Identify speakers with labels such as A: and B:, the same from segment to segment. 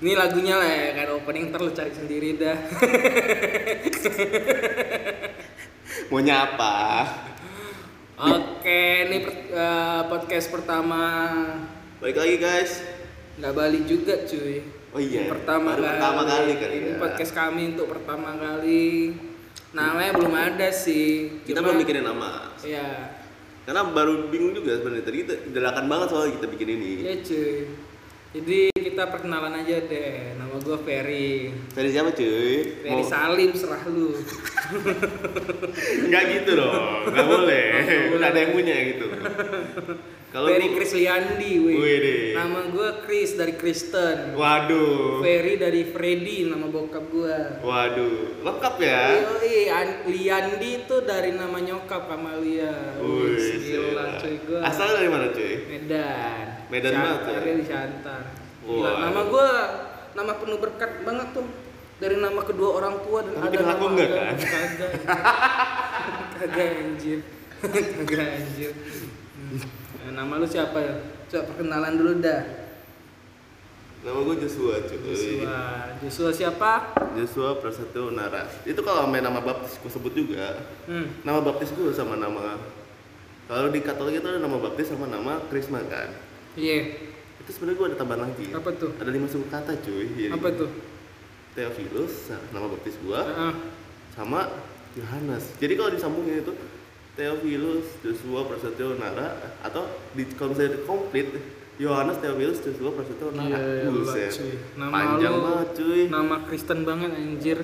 A: Ini lagunya lah ya, kan opening ntar lu cari sendiri dah.
B: Mau nyapa?
A: Oke, ini per- eh, podcast pertama
B: Balik lagi guys.
A: nggak balik juga cuy.
B: Oh iya.
A: Pertama
B: baru
A: kali.
B: pertama kali kali
A: Ini
B: ya.
A: podcast kami untuk pertama kali. Namanya belum ada sih.
B: Kita
A: Cuma-
B: belum mikirin nama.
A: Iya.
B: Karena baru bingung juga sebenarnya tadi kita dadakan banget soalnya kita bikin ini.
A: Iya cuy. Jadi kita perkenalan aja deh. Nama gue Ferry.
B: Dari siapa cuy? Oh.
A: Ferry Salim serah lu.
B: Enggak gitu dong. Enggak boleh.
A: Nggak boleh.
B: Udah ada yang punya gitu. Kalau
A: Ferry
B: gua-
A: Chris Liandi,
B: Wih,
A: wih.
B: deh.
A: Nama gue Chris dari Kristen.
B: Waduh.
A: Ferry dari Freddy nama bokap gua.
B: Waduh. Lengkap ya.
A: Yoi, An- Liandi itu dari nama nyokap sama Lia. Wih,
B: Wih,
A: gila
B: gila.
A: cuy gua.
B: Asalnya dari mana cuy?
A: Medan.
B: Medan
A: Shan-
B: banget ya?
A: lahir di Shantar. Gila,
B: Wah.
A: nama gua nama penuh berkat banget tuh. Dari nama kedua orang tua dan
B: Tapi
A: ada
B: kita
A: nama
B: ngaku enggak,
A: agama.
B: kan?
A: Kagak. Kagak anjir. Kagak anjir. Hmm. Nah, nama lu siapa ya? Coba perkenalan dulu dah.
B: Nama gue Joshua cuy.
A: Joshua. Joshua siapa?
B: Joshua Prasetyo Nara. Itu kalau main nama baptis gue sebut juga.
A: Hmm.
B: Nama baptis gue sama nama kalau di Katolik itu ada nama baptis sama nama Krisma kan.
A: Iya.
B: Itu sebenarnya gue ada tambahan lagi.
A: Apa tuh?
B: Ada lima suku kata cuy. Jadi
A: Apa tuh? Ah,
B: Theophilus, nah, nama baptis gue,
A: Heeh.
B: sama Yohanes. Jadi kalau disambungin itu Theophilus, Joshua Prasetyo Nara atau di kalau misalnya komplit Yohanes, Theophilus, Joshua Prasetyo Nara.
A: Iya, iya,
B: Buset.
A: cuy. Nama
B: Panjang
A: lu- Nah.
B: banget cuy.
A: Nama Kristen banget anjir.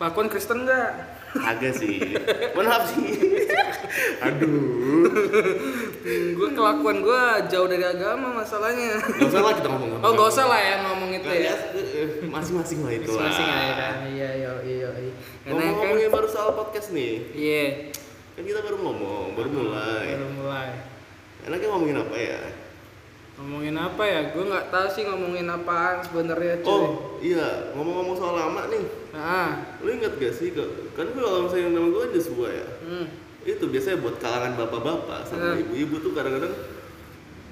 A: Kelakuan Kristen enggak?
B: Agak sih. Mohon maaf sih. Aduh.
A: gue Hmm, kelakuan gue jauh dari agama masalahnya.
B: Gak usah lah kita ngomong.
A: Oh nggak usah lah ya ngomong itu
B: Nggak,
A: ya.
B: ya, eh, Masing-masing lah ya. itu.
A: Masing-masing
B: lah.
A: aja kan. Iya iya iya. iya. Karena kan
B: Ngomong-ngomongin baru soal podcast nih.
A: iya
B: Kan kita baru ngomong, baru mulai.
A: baru mulai.
B: Enaknya ngomongin apa ya?
A: Ngomongin apa ya? Gue nggak tahu sih ngomongin apaan sebenarnya cuy.
B: Oh iya, ngomong-ngomong soal lama nih.
A: Nah,
B: Lu inget gak sih, ke- kan gue kalau misalnya nama gue Joshua ya
A: hmm.
B: Itu biasanya buat kalangan bapak-bapak sama
A: Hmm.
B: ibu-ibu tuh kadang-kadang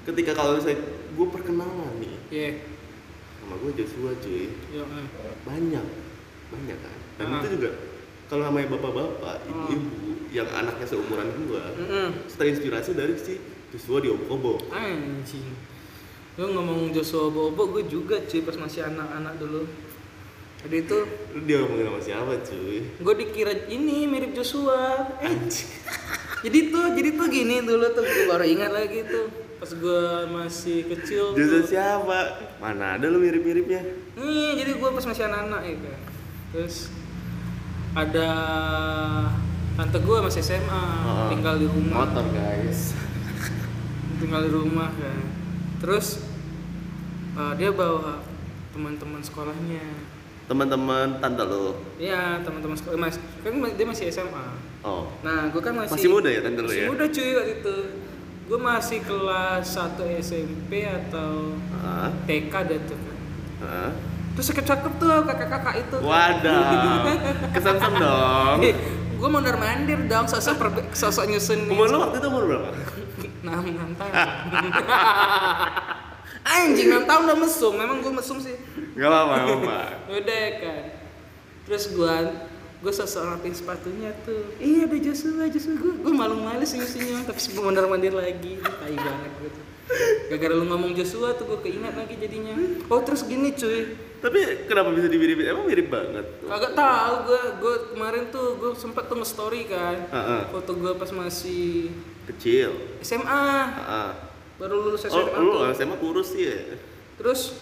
B: Ketika kalau misalnya gue perkenalan nih
A: Iya.
B: Nama gue Joshua cuy
A: Yo, eh.
B: banyak banyak kan dan
A: Ah.
B: itu juga kalau namanya bapak-bapak ibu-ibu yang anaknya seumuran gua
A: Mm-mm.
B: terinspirasi dari si Joshua di Obobo
A: Anjing. Lu ngomong Joshua Bobo, gue juga cuy pas masih anak-anak dulu. Jadi itu
B: lu dia ngomongin sama siapa cuy
A: gue dikira ini mirip Joshua. Eh,
B: anjing
A: jadi tuh, jadi tuh gini dulu tuh gue baru ingat lagi tuh pas gue masih kecil.
B: Joshua
A: tuh.
B: siapa mana ada lu mirip-miripnya
A: Nih, jadi gue pas masih anak-anak ya kan. Terus ada tante gue masih SMA
B: Heeh.
A: tinggal di rumah.
B: Ah, motor guys
A: tinggal di rumah kan terus eh, dia bawa teman-teman sekolahnya
B: teman-teman tante lo
A: ya teman-teman sekolah mas kan ma- dia masih SMA
B: oh
A: nah gue kan masih
B: Masih muda ya, tante lu
A: masih
B: ya?
A: muda cuy waktu itu gue masih kelas 1 SMP atau
B: ah
A: TK dah tuh kan
B: ah
A: terus cakep-cakep tuh kakak-kakak itu
B: wadah kesamsem dong
A: gue mondar mandir dong sosok perbe- sosok nyusun Nah,
B: umur lu waktu itu umur berapa
A: enam enam tahun anjing enam tahun udah mesum memang gue mesum sih
B: nggak apa-apa nggak apa-apa
A: udah ya kan terus gua gua sosok rapin sepatunya tuh iya ada Joshua Joshua gua gua malu malu senyum senyum tapi mondar mandir lagi tai banget gua tuh gara-gara lu ngomong Joshua tuh gua keinget lagi jadinya oh terus gini cuy
B: tapi kenapa bisa dimirip emang mirip banget
A: kagak tahu gua gua kemarin tuh gua sempet tuh nge-story kan
B: Heeh.
A: foto gua pas masih
B: kecil
A: SMA
B: Heeh.
A: baru lulus SMA
B: Oh, lu
A: tuh.
B: SMA kurus sih ya?
A: terus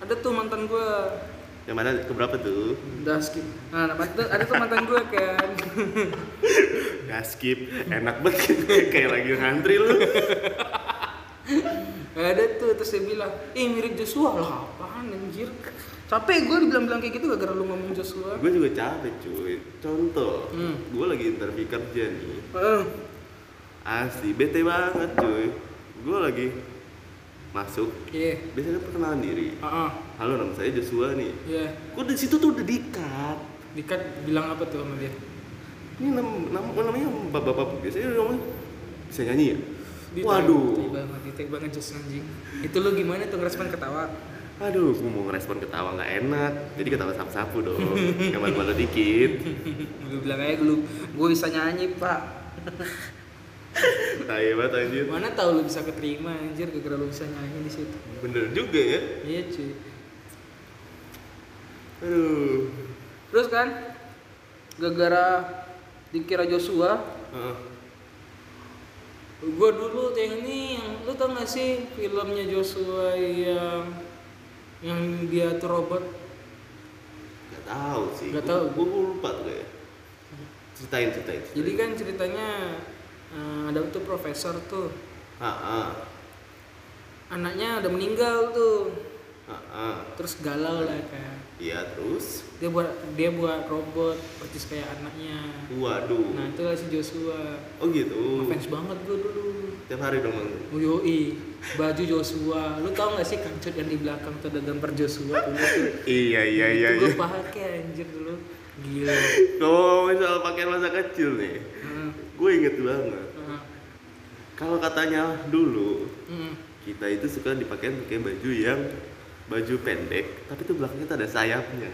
A: ada tuh mantan gua
B: Yang mana keberapa tuh?
A: udah skip nah ada ada tuh mantan gua kan
B: Gak skip, enak banget kayak lagi ngantri lu.
A: Gak ada tuh, terus dia bilang, ih mirip Joshua lah apaan anjir Capek gue dibilang-bilang kayak gitu gara-gara lu ngomong Joshua
B: gue juga capek cuy. Contoh,
A: Hmm.
B: gue lagi interview kerja nih.
A: Heeh.
B: Asli, bete banget cuy. Gue lagi masuk,
A: Iya,
B: biasanya kan perkenalan diri.
A: heeh,
B: Halo, nama saya Joshua nih.
A: iya
B: Gue di situ tuh udah dikat.
A: Dikat bilang apa tuh sama dia?
B: ini nam, nam, namanya bapak-bapak biasanya namanya bisa nyanyi ya
A: Di- tai
B: waduh
A: banget, ditek banget jos anjing. Itu lu gimana tuh ngerespon ketawa?
B: aduh gue mau ngerespon ketawa nggak enak jadi ketawa sapu-sapu dong nggak malu-malu dikit
A: Lu bilang aja lu, gue bisa nyanyi pak.
B: tai banget anjir
A: Mana tahu lu bisa keterima anjir, gara-gara lu bisa nyanyi di situ.
B: bener juga ya
A: Iya cuy.
B: aduh
A: Terus kan, gara-gara dikira Joshua,
B: Heeh.
A: gue dulu yang ini, yang, lu tau gak sih filmnya Joshua yang yang dia tuh robot?
B: nggak tahu sih
A: Nggak
B: Gua-
A: tahu.
B: gua, gua lupa tuh kayak ceritain ceritain, ceritain.
A: Jadi kan ceritanya eh, ada tuh profesor tuh
B: ah ah
A: anaknya udah meninggal tuh,
B: ah ah.
A: terus galau lah kan.
B: iya terus
A: Dia buat dia buat robot persis kayak anaknya.
B: waduh
A: Nah itulah si Joshua.
B: oh gitu
A: Fans banget gue dulu. Oh,
B: tiap hari dong Bang.
A: Yoi, baju Joshua. Lu tau gak sih kancut yang di belakang tuh ada gambar Joshua dulu tuh?
B: iya iya iya
A: itu gue
B: iya
A: pakai anjir dulu. Gila.
B: kalau ngomongin soal pakaian masa kecil nih
A: Heeh,
B: gue inget banget
A: heeh,
B: kalau katanya dulu
A: heeh.
B: kita itu suka dipakai pakai baju yang baju pendek tapi tuh belakangnya tuh ada sayapnya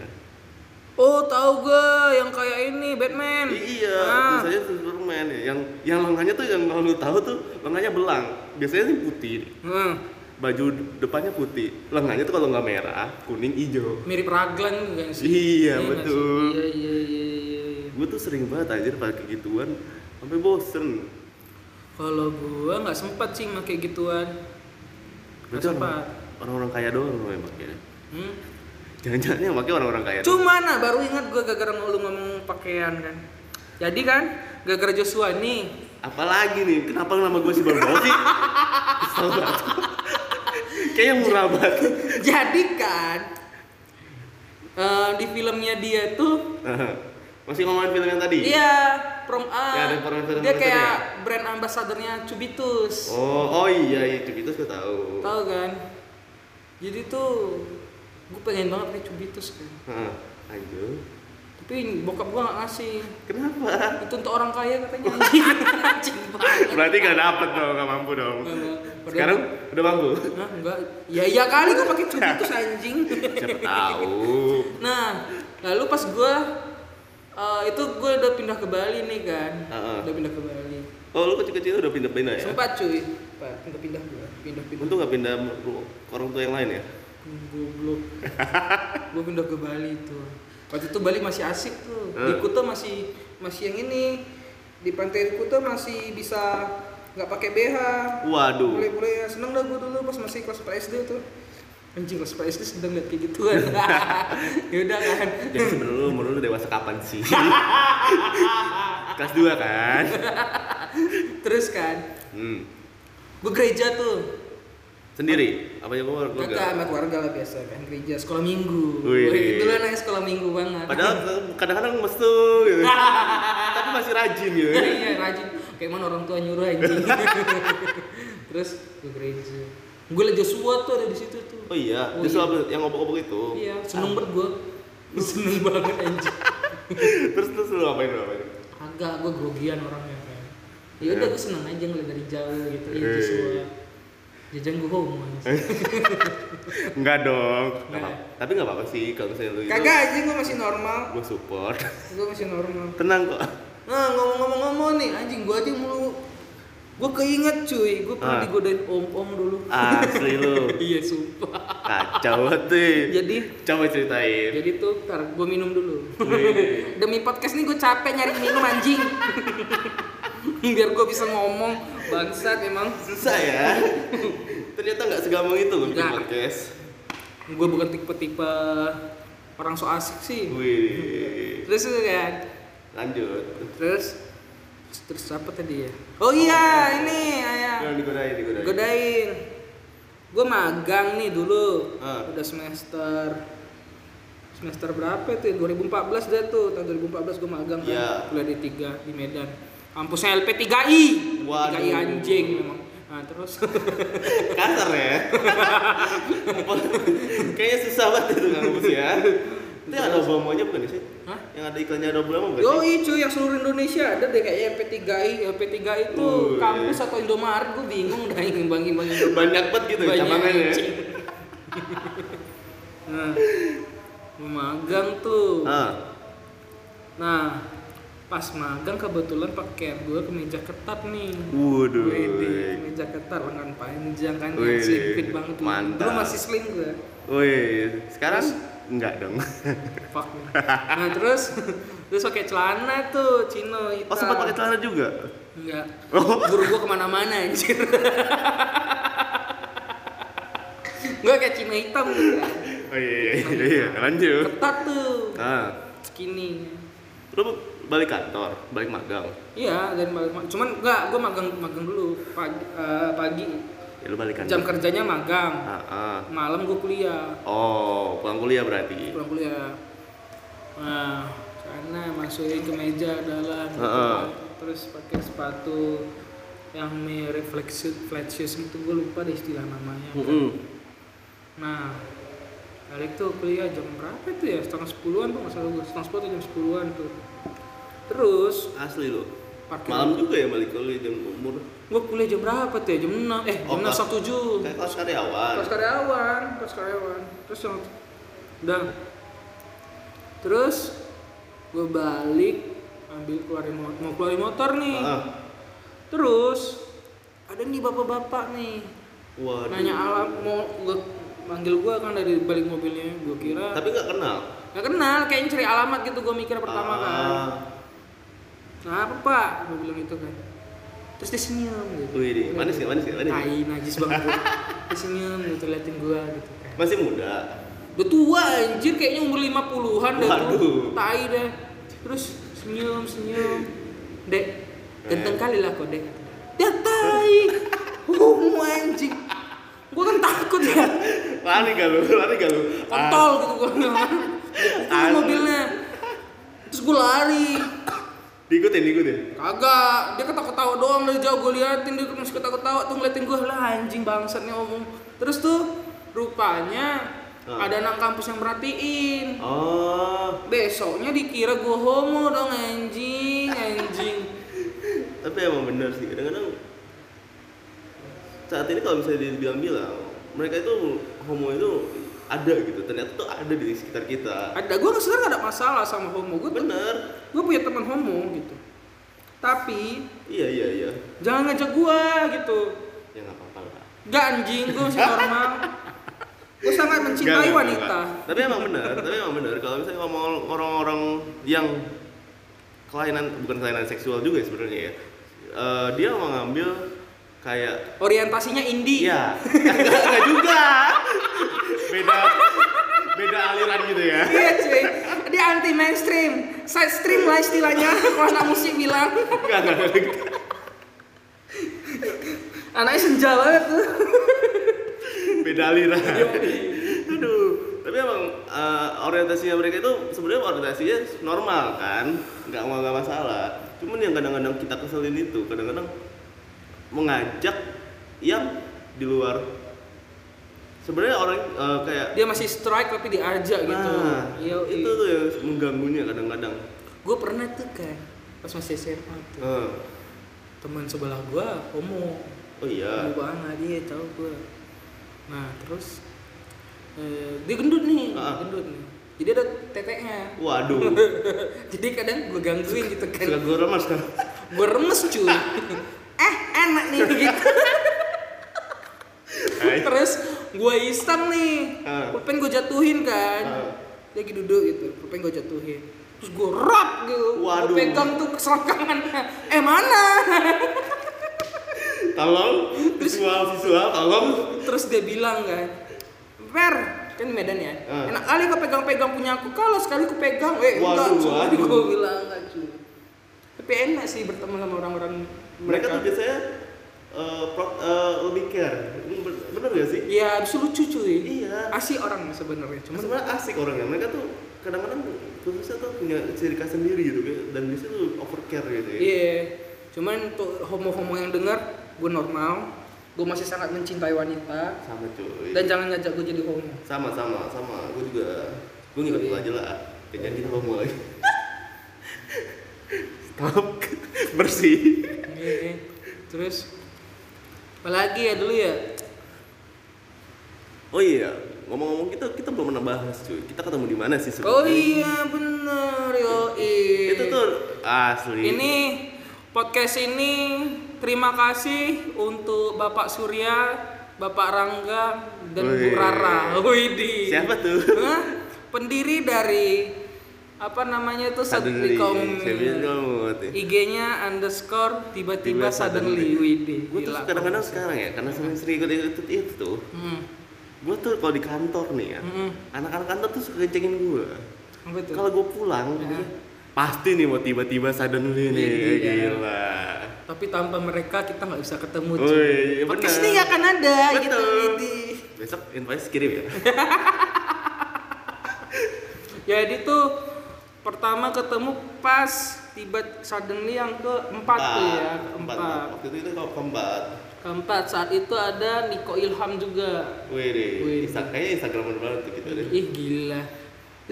A: Oh tahu gue yang kayak ini Batman.
B: iya
A: Ah.
B: biasanya Superman ya yang yang lengannya tuh yang kalau lu tahu tuh lengannya belang biasanya sih putih
A: Heeh,
B: baju depannya putih lengannya tuh kalau nggak merah kuning hijau
A: mirip raglan kan sih.
B: Iya,
A: nggak sih?
B: betul.
A: Iya iya iya iya. iya.
B: gue tuh sering banget anjir pakai gituan sampai bosen
A: Kalau gue nggak sempat sih pakai gituan. Nggak
B: berarti orang-
A: sempat.
B: orang-orang kaya doang loh yang pakai
A: Hmm?
B: jangan-jangan yang pakai orang-orang kaya
A: Cuma nah baru ingat gue gara-gara mau lu ngomong pakaian kan. Jadi kan gara-gara Joshua nih
B: Apalagi nih, kenapa nama gue si Barbol sih? Kesel banget. Kayaknya murah banget.
A: Jadi kan eh, di filmnya dia tuh
B: Masih ngomongin film yang tadi?
A: dia Iya, prom A.
B: Ya, ada film-film
A: dia
B: yang
A: kayak
B: tadi ya?
A: brand ambassadornya Cubitus.
B: Oh, oh iya, iya, itu gue tahu.
A: Tahu kan? Jadi tuh gue pengen banget pakai Cubitus kan.
B: Hah, Lanjut.
A: Tapi bokap gue gak ngasih.
B: Kenapa?
A: Itu untuk orang kaya katanya. Anjing, Anjing banget.
B: Berarti gak dapet dong, gak mampu dong.
A: Nggak, nggak. Padahal-
B: Sekarang udah mampu.
A: Hah, enggak. Ya iya kali gue pakai Cubitus anjing.
B: Siapa tahu.
A: Nah, lalu pas gua eh, itu gua udah pindah ke Bali nih kan.
B: Heeh.
A: Udah pindah ke Bali.
B: Oh, lu kecil-kecil udah pindah-pindah ya?
A: Sempat cuy. Pak, pindah-pindah gua. Pindah-pindah.
B: Untung gak pindah ru- ke orang tua yang lain ya?
A: Hmm, Goblok. gua pindah ke Bali tuh. Waktu itu Bali masih asik tuh. Di
B: Eh.
A: Kuta masih masih yang ini. Di pantai Kuta masih bisa nggak pakai BH.
B: Waduh.
A: Boleh-boleh ya. Seneng dah gua dulu pas masih kelas 4 SD tuh. Anjing kelas 4 SD sedang liat kayak gituan. Yaudah kan.
B: Jadi sebenernya lu, menurut lu dewasa kapan sih? Kelas 2 kan?
A: Terus kan,
B: Hmm.
A: gua gereja tuh.
B: Sendiri? Apa yang keluar
A: Kagak
B: keluarga?
A: amat warga lah biasa kan gereja sekolah minggu.
B: Wih.
A: Wih, Dulu anaknya sekolah minggu banget.
B: Padahal ke- kadang-kadang mesu gitu. Tapi masih rajin gitu.
A: iya rajin. Kayak mana orang tua nyuruh anjing. Terus ke gereja. Gue liat Joshua tuh ada di situ tuh.
B: Oh iya,
A: Oh
B: justru
A: iya.
B: apa- yang ngobok-ngobok itu.
A: Iya, seneng banget gue. Seneng banget anjing.
B: terus terus lu ngapain lu ngapain?
A: Agak gue grogian orangnya kan. Ya udah gue seneng aja ngeliat dari jauh gitu. Iya
B: Hei.
A: Joshua. Jajan gue homo anjing.
B: Enggak dong.
A: Nggak.
B: Nggak apa- Tapi enggak apa-apa sih kalau misalnya lu itu.
A: Kagak anjing gue masih normal.
B: Gua support.
A: Gue masih normal.
B: Tenang kok.
A: Nah ngomong-ngomong-ngomong nih anjing gua aja mulu gua keinget cuy gua pernah
B: Ah.
A: digodain om-om dulu
B: Asli lu.
A: iya sumpah
B: Kacau banget. nih.
A: jadi
B: Coba ceritain.
A: jadi tuh ntar gua minum dulu
B: Wih.
A: demi podcast nih gua capek nyari minum anjing biar gua bisa ngomong bangsat emang
B: Susah ya. Ternyata nggak segampang itu loh bikin
A: Nggak.
B: podcast.
A: gua bukan tipe-tipe orang so asik sih
B: Wih.
A: terus tuh kan
B: Lanjut.
A: terus terus apa tadi ya oh iya ini ayah
B: Jangan digodain, digodain.
A: godain gue magang nih dulu
B: Ah.
A: udah semester semester berapa itu ya? 2014 dah tuh tahun 2014 gue magang kan
B: Iya.
A: kuliah D3 di Medan kampusnya LP3I
B: Waduh.
A: 3I anjing memang nah terus
B: kasar ya kayaknya susah banget itu kampus ya Itu yang ada Obamanya bukan sih?
A: Hah?
B: Yang ada iklannya ada Obama bukan sih?
A: Yoi cuy yang seluruh Indonesia ada deh kayak MP3I, MP3I itu
B: Oh,
A: kampus atau Indomaret gue bingung dah ngimbang-ngimbang.
B: Banyak banget gitu cabangannya. ya.
A: anjing. nah, gua magang tuh.
B: Ah,
A: Nah, pas magang kebetulan pakaian gue kemeja ketat nih.
B: waduh.
A: Wih, kemeja ketat lengan panjang kan
B: Wih,
A: slim banget. lu.
B: mantap.
A: Dulu masih slim gue.
B: Wih, sekarang enggak dong. Oh,
A: Fuck. Nah, terus terus pakai celana tuh chino hitam.
B: Oh sempat pakai celana juga?
A: Enggak. Guru gua kemana-mana anjir. Gue kayak chino hitam gitu kan.
B: Oh iya iya iya, iya. lanjut.
A: Ketat tuh.
B: Nah,
A: Skinny.
B: lu balik kantor, balik magang.
A: Iya, dan balik- cuman enggak, gua magang magang dulu pagi, eh, pagi.
B: Ya lu balik kantor.
A: Jam kerjanya magang.
B: Ah, ah.
A: Malam gua kuliah.
B: Oh, pulang kuliah berarti.
A: Pulang kuliah. Nah, karena masukin ke meja dalam gitu
B: Heeh.
A: kan. terus pakai sepatu yang mirip flat shoes, flat shoes gitu gue lupa deh istilah namanya.
B: Mm-mm.
A: Nah, balik tuh kuliah jam berapa tuh ya? Setengah sepuluhan tuh masalah gue. Setengah sepuluh atau jam sepuluhan tuh. Terus
B: Asli lu.
A: Pakai.
B: Malam juga ya balik kuliah jam umur.
A: gue kuliah jam berapa tuh ya? Jam 6 eh
B: Oh,
A: jam enam
B: kelas-
A: sampai tujuh.
B: Kayak kelas karyawan.
A: Pas karyawan, pas karyawan. Terus yang udah. Terus gue balik ambil keluarin motor, mau keluarin motor nih.
B: Ah.
A: Terus ada nih bapak-bapak nih
B: Waduh.
A: nanya alam mau gue manggil gue kan dari balik mobilnya gue kira
B: Tapi nggak kenal. Ah.
A: nggak kenal kayaknya cari alamat gitu gue mikir pertama kan nah apa pak gue bilang gitu kan terus dia senyum gitu
B: Wih, deh, manis nggak manis nggak manis. nggak?
A: tai najis banget gue dia senyum gitu liatin gue gitu kan
B: Masih muda.
A: Udah tua anjir kayaknya umur 50-an dah tuh.
B: Waduh.
A: Tai dah. Terus senyum senyum. Dek,
B: Eh.
A: ganteng kali lah kok, Dek. Ya tai. Homo anjing. Gua kan takut ya.
B: Lari gak lu? Lari gak lu? Ah.
A: Kontol gitu gua. Dipukul
B: Asli.
A: mobilnya. Terus gua lari.
B: Ah, diikutin, diikutin.
A: Kagak, dia ketawa-ketawa doang dari jauh gue liatin dia masih ketawa-ketawa tuh ngeliatin gue lah anjing bangsatnya ngomong. Terus tuh rupanya
B: Ah.
A: ada anak kampus yang merhatiin.
B: Oh,
A: Besoknya dikira gue homo dong anjing, anjing.
B: tapi emang bener sih. Kadang-kadang saat ini kalau misalnya dibilang-bilang, mereka itu homo itu ada gitu. Ternyata tuh ada di sekitar kita.
A: Ada gue sebenarnya gak ada masalah sama homo gue tuh.
B: Bener.
A: Gue punya teman homo gitu. Tapi
B: Iya, iya, iya.
A: jangan ngajak gue gitu.
B: Ya nggak apa-apa lah.
A: Gak anjing, gue masih normal. gue sangat mencintai
B: Enggak, enggak,
A: wanita.
B: enggak. Tapi emang benar, tapi emang benar kalau misalnya ngomong orang-orang yang kelainan bukan kelainan seksual juga ya sebenarnya ya. Eh, dia mengambil kayak
A: Orientasinya indie.
B: iya, enggak enggak juga. Beda beda aliran gitu ya.
A: Iya cuy, dia anti mainstream, side stream lah istilahnya, kalau anak musik bilang
B: Enggak enggak enggak gitu.
A: Anaknya senja banget tuh
B: Beda aliran. Iya, Aduh, tapi emang eh, orientasinya mereka itu sebenarnya orientasinya normal kan, nggak mau nggak masalah. Cuman yang kadang-kadang kita keselin itu kadang-kadang mengajak yang di luar. Sebenarnya orang eh, kayak
A: Dia masih strike tapi diajak gitu
B: nah,
A: Yoi.
B: itu tuh yang mengganggunya kadang-kadang.
A: gue pernah tuh kan pas masih SMA tuh
B: Eh,
A: teman sebelah gue homo
B: oh
A: homo
B: iya.
A: banget dia tahu gue nah terus eh, dia gendut nih
B: Ah.
A: gendut nih jadi ada teteknya
B: Waduh,
A: jadi kadang gue gangguin gitu kan
B: suka gue remas kan.
A: gue remes cuy eh enak nih gitu
B: Hai.
A: terus gue iseng nih
B: Ah.
A: pulpen gue jatuhin kan
B: Ah.
A: lagi duduk gitu pulpen gue jatuhin terus gue rap gitu gue
B: Waduh.
A: pegang tuh selangkangannya eh mana
B: Tolong visual visual tolong.
A: terus dia bilang kan per kan di Medan ya
B: Ah.
A: enak kali kau pegang-pegang punya aku kalau sekali aku pegang eh enggak
B: Waduh,
A: cuy
B: waduh.
A: gue bilang enggak cuy tapi enak sih berteman sama orang-orang
B: Mereka tuh gitu. biasanya eh, pro- eh, lebih care. Bener- Bener gak sih?
A: Iya, abis itu lucu cuy.
B: Iya.
A: Asih orang sebenarnya,
B: Cuman
A: cuman
B: sebenarnya asik orangnya. Mereka tuh kadang-kadang khususnya tuh punya ciri khas sendiri gitu kayak dan di situ overcare gitu ya.
A: iya. Cuman untuk homo-homo yang dengar, gue normal. Gue masih sangat mencintai wanita
B: Sama cuy.
A: dan jangan ngajak gue jadi homo.
B: Sama sama sama. Gue juga gue ngikut lu aja lah ya
A: Iya.
B: jangan kita ngomong lagi stop bersih
A: Iya. Terus apalagi ya dulu ya?
B: oh iya ngomong-ngomong kita kita belum pernah bahas cuy kita ketemu di mana sih sebenarnya
A: Oh iya bener yo
B: itu tuh asli
A: Ini podcast ini terima kasih untuk Bapak Surya, Bapak Rangga dan Bu
B: Wih.
A: Rara. Widih.
B: siapa tuh
A: Hah? Pendiri dari apa namanya itu
B: Suddenly,
A: suddenly Community.
B: saya bilang kamu mati.
A: IG-nya underscore tiba-tiba
B: Tiba
A: suddenly
B: suddenly.
A: Widih.
B: Gue tuh
A: Gila.
B: kadang-kadang sekarang ya, karena sering sering ikut ikut itu tuh,
A: Hmm.
B: gue tuh kalau di kantor nih ya,
A: Mm-mm.
B: anak-anak kantor tuh suka ngecengin gue.
A: Apa Hmm. tuh?
B: Kalau gue pulang, gitu, pasti nih mau tiba-tiba suddenly nih,
A: Iya.
B: gila.
A: Tapi tanpa mereka kita nggak bisa ketemu. cuy.
B: Woi, iya
A: Podcast
B: bener.
A: ini nggak akan ada gitu.
B: ya Betul.
A: Widih.
B: Besok invoice kirim ya.
A: Jadi tuh pertama ketemu pas tiba suddenly yang keempat tuh ya
B: Empat.
A: keempat
B: Waktu itu itu kalau keempat.
A: keempat saat itu ada Niko Ilham juga
B: Wih deh,
A: Wih.
B: Insta- kayaknya Instagraman banget tuh gitu deh.
A: ih gila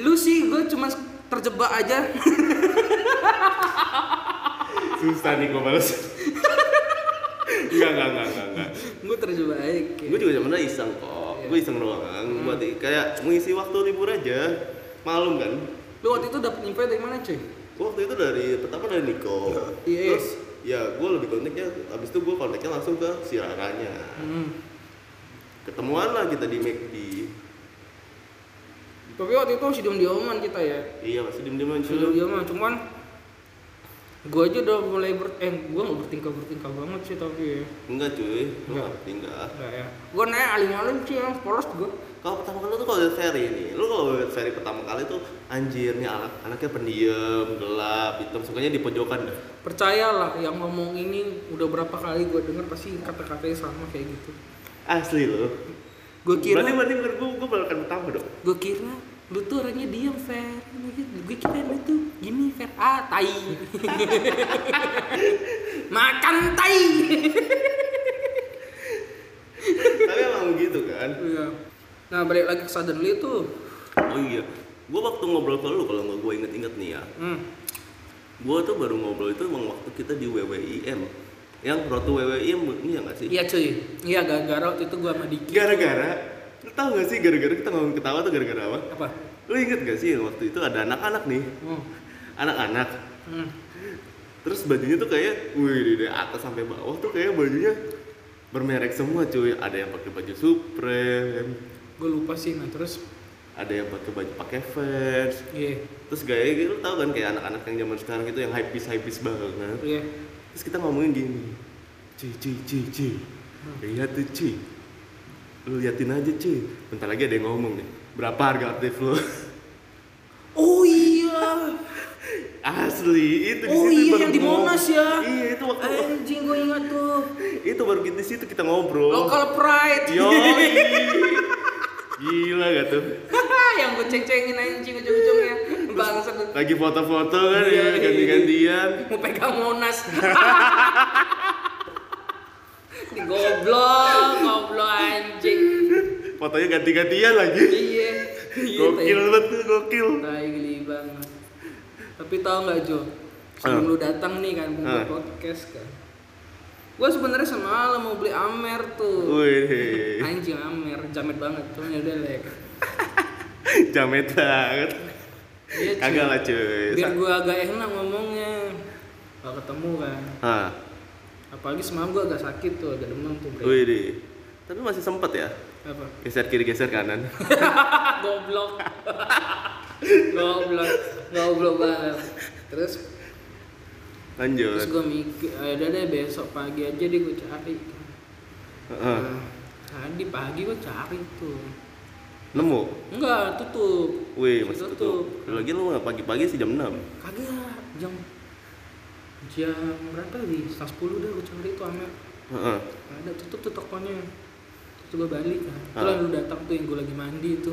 A: lu sih gue cuma terjebak aja
B: Susah nih gue balas. Enggak, enggak, enggak, enggak, enggak.
A: gue terjebak aja kayak.
B: Gue juga sebenarnya iseng kok.
A: Iya.
B: Gue iseng doang. Buat i- kayak mengisi waktu libur aja. Malum kan.
A: lu waktu itu dapet info dari mana cuy
B: Gue waktu itu dari pertama dari Niko.
A: Iya.
B: Terus ya gue lebih kontaknya. Abis itu gue kontaknya langsung ke si Raranya.
A: hmm.
B: Ketemuan lah kita di McD.
A: tapi waktu itu masih diem dioman kita ya
B: Iya masih diem dieman
A: masih diem dioman cuman gue aja udah mulai ber eh gue nggak bertingkah bertingkah banget sih tapi ya
B: Enggak cuy, lu
A: Enggak.
B: nggak tinggal.
A: Enggak ya gue naik aling-aling sih yang polos gue
B: Kalau pertama kali tuh kalau lihat seri ini, lu kalau lihat seri pertama kali tuh anjir nih anak anaknya pendiam, gelap, hitam, sukanya di pojokan dah.
A: percayalah yang ngomong ini udah berapa kali gue denger pasti kata-katanya sama kayak gitu
B: Asli lu.
A: gue kira
B: Berarti berarti bener gue gue balakan pertama dong.
A: gue kira lu tuh orangnya diam fair gue kira lu tuh gini fair ah tai makan tai
B: Tapi emang gitu kan.
A: Iya. nah balik lagi ke suddenly tuh
B: Oh iya, gue waktu ngobrol ke lu kalau nggak gue inget-inget nih ya,
A: hmm.
B: gue tuh baru ngobrol itu emang waktu kita di WWIM, yang pro to WWIM ini ya nggak sih?
A: iya cuy iya gara-gara waktu itu gue sama Diki
B: Gara-gara, lu tau nggak sih gara-gara kita ngomong ketawa tuh gara-gara apa?
A: apa
B: Lu inget gak sih yang waktu itu ada anak-anak nih,
A: hmm.
B: anak-anak,
A: Hmm.
B: terus bajunya tuh kayak, wih dari atas sampai bawah tuh kayak bajunya bermerek semua cuy, ada yang pakai baju Supreme,
A: gue lupa sih nah terus
B: ada yang pakai baju pakai Vans,
A: iya
B: terus gaya gitu lu tau kan kayak anak-anak yang zaman sekarang gitu yang hype hype banget
A: iya
B: terus kita ngomongin gini cuy cuy cuy cuy lihat Ya iya tuh cuy lu liatin aja cuy bentar lagi ada yang ngomong nih berapa harga aktif lu
A: oh iya
B: asli itu di
A: Oh
B: situ
A: iya,
B: baru
A: yang di
B: ngomong.
A: Monas ya?
B: iya itu waktu
A: anjing gue ingat tuh
B: itu baru di situ kita ngobrol
A: Local pride.
B: Yoi. gila gak tuh
A: yang gue ceng-cengin anjing ujung-ujungnya. Bangsat lu.
B: lagi foto-foto kan
A: Iya.
B: ya ganti-gantian
A: Mau pegang Monas. Di goblok, goblok anjing.
B: fotonya ganti-gantian lagi
A: Iya. Iya,
B: gokil
A: tai.
B: banget tuh gokil
A: Tai geli banget. Tapi tau nggak Jo? Sebelum
B: Ah.
A: lu datang nih kan buat
B: Ah.
A: podcast kan. Gue sebenarnya semalam mau beli Amer tuh.
B: Wih,
A: Anjing Amer, jamet banget. Cuman ya udah lah ya kan.
B: jamet banget.
A: Iya, cuy.
B: Kagak lah cuy.
A: biar gue agak enak ngomongnya gak ketemu kan
B: Hah,
A: apalagi semalam gue agak sakit tuh agak demam tuh bre
B: wih deh. Tapi masih sempet ya,
A: apa
B: geser kiri geser kanan.
A: goblok goblok goblok banget terus terus
B: Lanjut.
A: gue mikir "Ah, udah deh besok pagi aja deh gue cari
B: Heeh.
A: Nah, tadi pagi gue cari tuh
B: Nemu.
A: enggak tutup
B: Wih, masih
A: Tutup.
B: tutup. Lagi lu nggak pagi-pagi sih jam 6.
A: kagak jam jam berapa sih setengah sepuluh dah gue cari tuh amer
B: Heeh.
A: Nggak ada tutup tuh tokonya terus gue balik kan
B: Ah.
A: terus lu datang tuh yang gue lagi mandi itu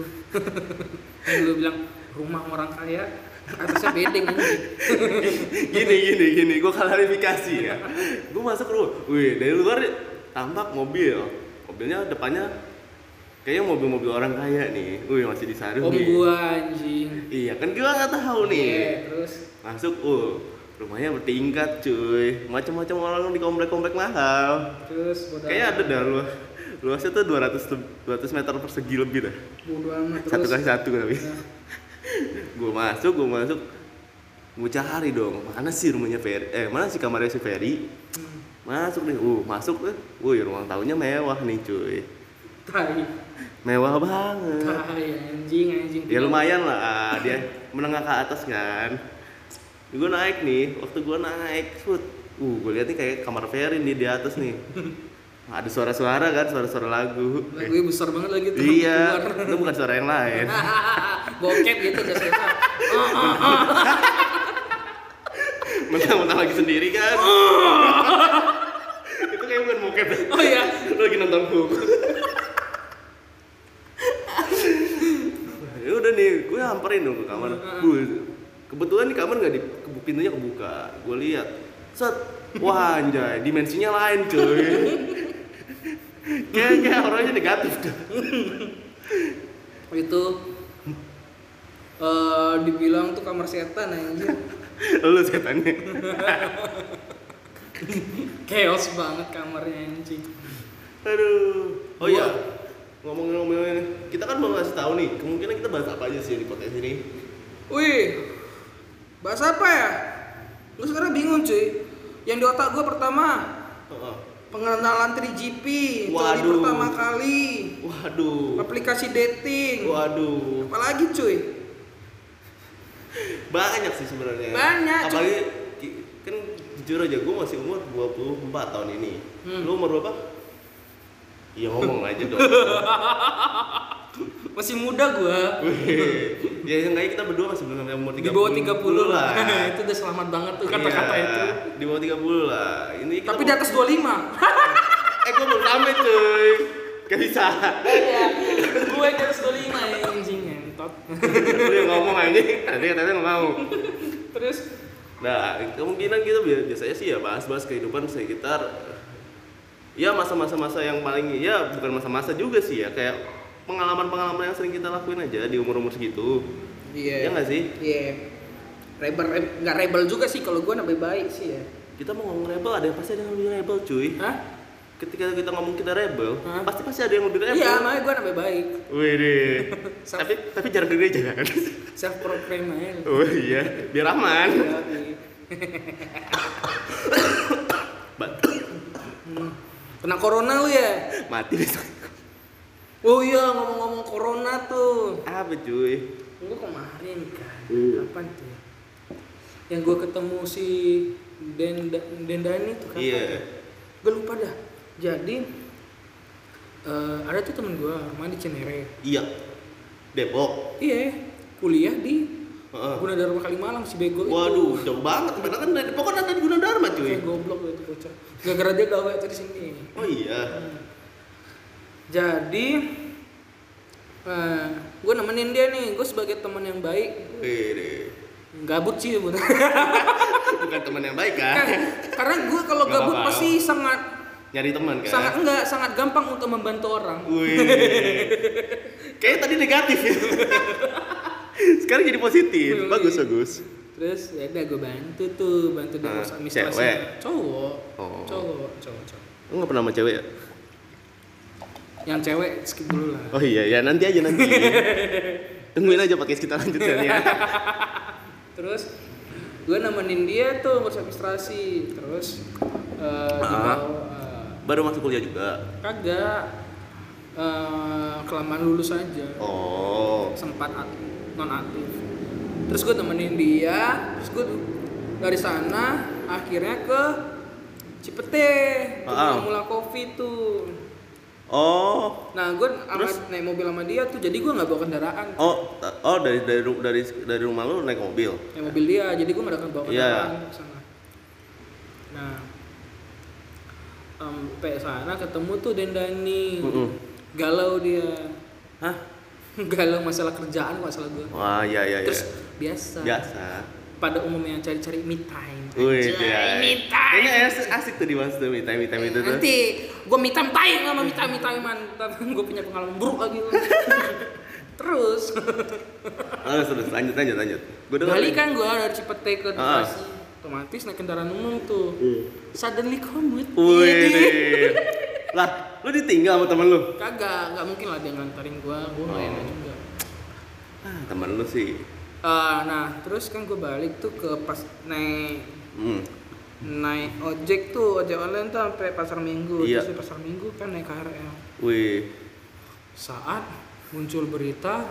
A: yang gue bilang rumah orang kaya atasnya bedeng anjing
B: Gini gini gini, gua klarifikasi ya. Gua masuk rumah. Wih, dari luar tampak mobil. Mobilnya depannya kayaknya mobil-mobil orang kaya nih wih masih
A: om
B: disaruh nih
A: gua anjing
B: iya kan gua nggak tahu iya. nih
A: Iya, terus
B: masuk uh rumahnya bertingkat cuy macam-macam orang di komplek-komplek mahal
A: terus bodo
B: kayaknya ada dah luas luasnya tuh 200 leb- 200 meter persegi lebih dah
A: bodo amat terus
B: satu kali satu tapi
A: Nah,
B: gue masuk gue masuk gue cari dong mana sih rumahnya Ferry eh mana sih kamarnya si Ferry
A: hmm,
B: masuk nih uh masuk deh wih ruang tahunya mewah nih cuy
A: Nah, tai
B: mewah banget
A: tai anjing anjing
B: ya lumayan lah dia menengah ke atas kan gue naik nih waktu gue naik food uh gue lihat nih kayak kamar Ferry nih di atas nih ada suara-suara kan suara-suara lagu
A: lagunya besar banget lagi tuh
B: iya
A: keluar.
B: itu bukan suara yang lain
A: bokep gitu biasanya oh,
B: mentang-mentang lagi sendiri kan itu kayak bukan bokep
A: oh iya
B: lu lagi nonton buku ya udah nih gue hamperin dong ke kamar gue kebetulan di kamar nggak di kebu- pintunya kebuka gue lihat set wah anjay dimensinya lain cuy kayak kayak orangnya negatif dah
A: itu eh dibilang tuh kamar setan anjir
B: lu setannya
A: chaos banget kamarnya anjing
B: aduh oh iya ngomong-ngomong kita kan mau ngasih tahu nih kemungkinan kita bahas apa aja sih di podcast ini
A: Wih, bahas apa ya? Lu sekarang bingung cuy. Yang di otak gue pertama
B: Oh, oh.
A: pengenalan 3GP itu hari
B: Waduh.
A: pertama kali.
B: waduh
A: Aplikasi dating.
B: waduh
A: Apalagi cuy.
B: banyak sih sebenarnya
A: Banyak, cuy.
B: apalagi ki- kan jujur aja gue masih umur 24 tahun ini
A: Hmm.
B: lu umur berapa ya ngomong aja dong
A: Masih muda gue.
B: Wih. ya seenggaknya kita berdua masih belum sampai umur 30
A: Di bawah 30 lah.
B: lah
A: itu udah selamat banget tuh kata-kata
B: Iya,
A: itu.
B: di bawah 30 lah ini kita
A: Tapi di
B: mau-
A: atas 25.
B: eh gue belum sampai cuy gak bisa
A: Iya. gue di atas 25 ya anjing entot.
B: lu yang ngomong aja tadi katanya nggak mau
A: Terus
B: Nah, kemungkinan kita bi- biasanya sih ya bahas-bahas kehidupan sekitar ya masa-masa masa yang paling ya bukan masa-masa juga sih ya kayak pengalaman-pengalaman yang sering kita lakuin aja di umur-umur segitu. Iya nggak sih?
A: Iya. Rebel, rebel, nggak rebel juga sih kalau gue nabi baik sih ya.
B: Kita mau ngomong rebel ada yang pasti ada yang lebih rebel cuy.
A: Hah?
B: Ketika kita ngomong kita rebel,
A: Hah?
B: pasti pasti ada yang lebih rebel.
A: Iya, makanya gue nabi baik.
B: Wih deh.
A: Sa-
B: tapi tapi jarang gede jangan.
A: Self proclaim aja. lu.
B: oh iya, biar aman.
A: Yoi.
B: Bat-
A: Kena corona lu ya?
B: Mati besok.
A: Oh iya ngomong-ngomong corona tuh.
B: Apa cuy?
A: Gue kemarin kan.
B: Iya.
A: Kapan tuh? ya? Yang gue ketemu si Denda Dendani tuh kan.
B: Iya.
A: Gue lupa dah. Jadi eh, ada tuh temen gue, main di Cinere.
B: Iya. Depok.
A: Iya, kuliah di
B: Heeh.
A: Gunadarma Kalimalang si bego itu.
B: Waduh, jauh banget. Padahal kan dari pokoknya ada di Gunadarma cuy.
A: Kayak goblok lu itu bocah. Gara-gara dia gawe tuh di sini.
B: Oh iya.
A: Jadi gue nemenin dia nih, gue sebagai teman yang baik
B: Wih,
A: gabut sih bener.
B: bukan teman yang baik kan?
A: Karena gue kalau
B: Nggak
A: gabut
B: apa-apa.
A: pasti sangat
B: Nyari teman kan?
A: sangat enggak sangat gampang untuk membantu orang.
B: Wih. Kayaknya tadi negatif ya. Sekarang jadi positif.
A: Wih.
B: Bagus, bagus.
A: Terus ya udah gue bantu tuh, bantu dia
B: Ah,
A: urus administrasi.
B: cewek?
A: Cowok.
B: Oh.
A: Cowok, cowok, cowok.
B: Lu nggak pernah sama cewek ya?
A: Yang cewek skip dulu lah.
B: Oh iya, ya nanti aja nanti. Tungguin aja podcast kita lanjutkan ya.
A: Terus gue nemenin dia tuh urus administrasi. Terus eh di
B: Ah.
A: bawah, eh,
B: Baru masuk kuliah juga.
A: kagak eh kelamaan lulus aja
B: Oh.
A: sempat ak- non aktif terus gue temenin dia terus gue dari sana akhirnya ke Cipete
B: Ah.
A: mula kopi tuh
B: Oh.
A: nah gue
B: Terus?
A: amat naik mobil sama dia tuh jadi gue nggak bawa kendaraan
B: Oh, oh dari dari ru- dari dari rumah lu naik mobil.
A: naik mobil dia jadi gue nggak akan bawa
B: Iya.
A: kendaraan ke sana nah sampai sana ketemu tuh Dendani
B: Mm-mm.
A: galau dia
B: Hah?
A: galau masalah kerjaan masalah gue
B: Wah, iya iya iya.
A: terus biasa
B: Biasa.
A: pada umumnya cari-cari me time.
B: Wih,
A: Anjay,
B: iya, dia.
A: me time.
B: Kayaknya ya, asik, asik tuh dibahas tuh me time, me time itu tuh.
A: Nanti gue me time tai sama me time me time man. gue punya pengalaman buruk lagi. Terus
B: Terus terus lanjut lanjut lanjut. Gue dengar.
A: balik kan gue dari Cipete ke
B: Ah.
A: Bekasi. Otomatis naik kendaraan umum tuh. Suddenly commute.
B: Hmm. Wih,
A: Iya, dia.
B: dia. lah, lu ditinggal sama temen lu?
A: Kagak, nggak mungkin lah dia nganterin gue. Gue
B: Oh.
A: main aja juga.
B: Ah, temen lu sih.
A: Eh, nah, terus kan gue balik tuh ke pas naik
B: Hmm.
A: naik ojek tuh ojek online tuh sampai pasar minggu
B: Iya.
A: terus di pasar minggu kan naik KRL
B: Wih,
A: saat muncul berita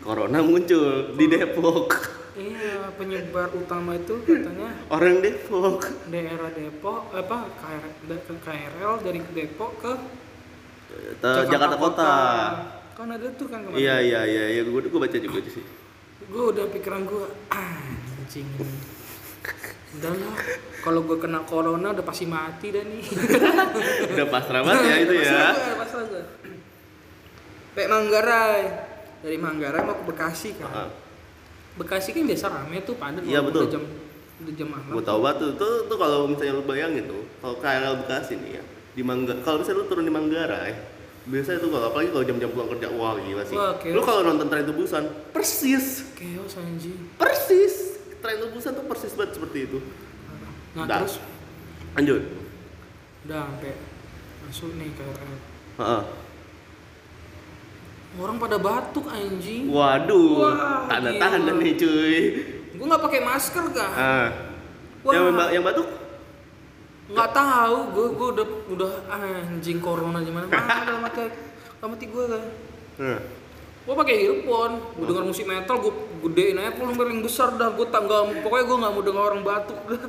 B: corona muncul di Depok.
A: iya penyebar utama itu katanya
B: Orang Depok.
A: daerah Depok apa KRL, da- ke KRL dari Depok ke
B: Eh, Jakarta, Kota.
A: kan ada tuh kan kemarin
B: Iya iya iya, iya. gue gue baca juga di sini.
A: gue udah pikiran gue anjing udah lah kalau gue kena corona udah pasti mati dah nih
B: Udah pasrah banget ya itu ya.
A: Pasrah gua, pasrah gua. Kayak Manggarai. Dari Manggarai mau ke Bekasi kan.
B: Ah,
A: Bekasi kan biasa rame tuh padat
B: Iya,
A: walaupun
B: betul.
A: udah jam udah jam malam.
B: Gue tau banget tuh, tuh, tuh kalau misalnya lu bayangin tuh, kalau KRL Bekasi nih ya, di Mangga, kalau misalnya lu turun di Manggarai, biasanya tuh kalau apalagi kalau jam-jam pulang kerja, wah gila sih.
A: Wah, chaos.
B: Lu kalau nonton tren tebusan, persis,
A: Chaos anjing.
B: persis, tren tebusan tuh persis banget seperti itu.
A: Nah,
B: Dah.
A: terus
B: Lanjut.
A: udah sampai masuk nih KRL.
B: Heeh.
A: Orang pada batuk anjing.
B: Waduh,
A: Wah,
B: tanda-tanda
A: gila.
B: nih cuy.
A: Gua nggak pakai masker kan.
B: Ah.
A: Wah.
B: Yang, ba- yang batuk?
A: nggak tahu gue gue udah udah ah, anjing corona gimana mana dalam mati dalam mati gue kan
B: Heeh.
A: gue pakai earphone gue denger musik metal gue gedein aja volume paling besar dah gue tanggal pokoknya gue nggak mau denger orang batuk dah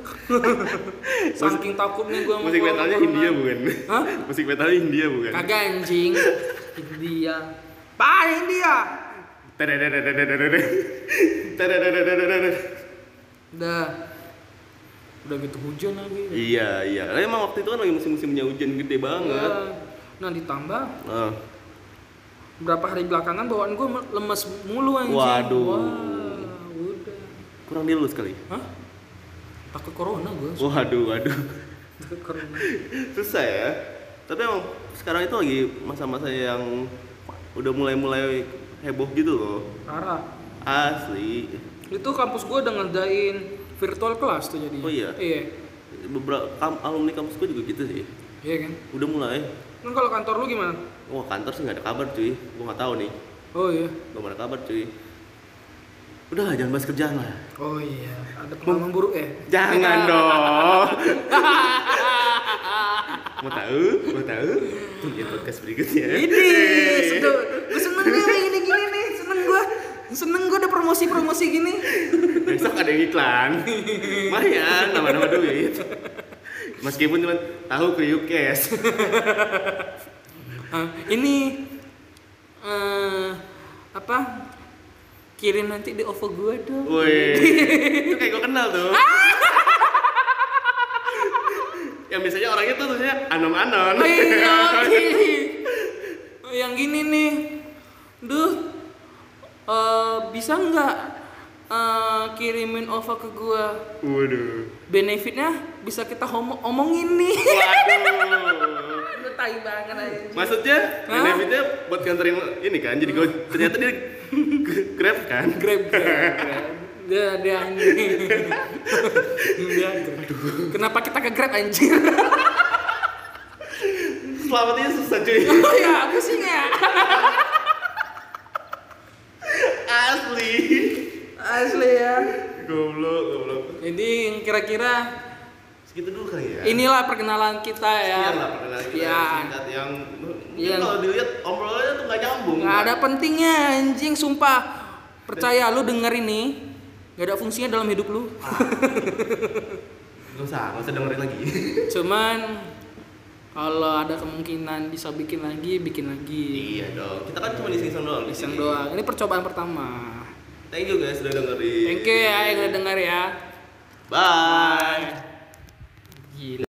A: saking takutnya gue
B: Musik metalnya India bukan?
A: Hah?
B: Musik metalnya India bukan?
A: kagak anjing India pak India
B: Tadadadadadadadada. Tadadadadadadada.
A: udah udah gitu hujan lagi
B: Iya iya, Lah, emang waktu itu kan lagi musim-musimnya hujan gede banget.
A: nah ditambah
B: Ah.
A: berapa hari belakangan bawaan gue lemes mulu anjing
B: Waduh.
A: Wah, udah
B: kurang dia lulus kali.
A: hah takut corona
B: Oh.
A: gue
B: Waduh waduh,
A: takut corona
B: susah ya. Tapi emang sekarang itu lagi masa-masa yang udah mulai-mulai heboh gitu loh.
A: parah
B: Asli.
A: Itu kampus gue udah ngerjain virtual class tuh jadinya.
B: Oh iya?
A: Iya.
B: Beberapa kam- alumni kampus gue juga gitu sih.
A: Iya kan?
B: Udah mulai.
A: Kan kalau kantor lu gimana?
B: Wah kantor sih nggak ada kabar cuy. Gue nggak tahu nih.
A: Oh iya.
B: Belum ada kabar cuy. Udah jangan bahas kerjaan lah.
A: Oh iya. Ada pengalaman buruk ya?
B: Jangan dong. mau tahu? Mau tahu? Tungguin podcast berikutnya.
A: Ini seduh. Gue seneng nih kayak gini-gini nih. Seneng gue. Seneng gue ada promosi-promosi gini.
B: Besok ada yang iklan. Lumayan, nama-nama duit. Meskipun cuma tahu kriuk cash.
A: Ah, ini eh apa? Kirim nanti di OVO gue dong.
B: Woi, itu kayak gue kenal tuh. yang biasanya orangnya tuh tulisnya anon-anon.
A: Oh iya, iya. Oh, yang gini nih, duh, eh, bisa nggak eh, kirimin OVA ke gua?
B: Waduh.
A: Benefitnya bisa kita homo- omongin nih.
B: Waduh.
A: Lu tai banget aja.
B: Maksudnya
A: Hah?
B: benefitnya buat nganterin ini kan. Jadi gue ternyata dia grab kan.
A: Grab, grab, grab. Dia, dia anjing. dia grab. Kenapa kita ke grab anjir?
B: Selamatnya susah cuy.
A: oh ya, pusing ya.
B: Asli.
A: Asli ya.
B: Goblok, goblok.
A: Jadi yang kira-kira
B: Segitu dulu kali ya.
A: inilah perkenalan kita ya.
B: Sekian lah perkenalan kita yang
A: Sekian.
B: singkat yang
A: Iya.
B: mungkin kalau dilihat obrolannya tuh nggak nyambung.
A: Gak ada pentingnya anjing, sumpah. Percaya lu denger ini, gak ada fungsinya dalam hidup lu.
B: Gak usah, gak usah dengerin lagi.
A: Cuman kalau ada kemungkinan bisa bikin lagi, bikin lagi.
B: iya dong. Kita kan cuma iseng-iseng doang. di
A: Iseng
B: sini.
A: doang. Ini percobaan pertama.
B: Thank you guys sudah dengerin.
A: ya. Thank you ya yang udah denger ya.
B: Bye.
A: Gila.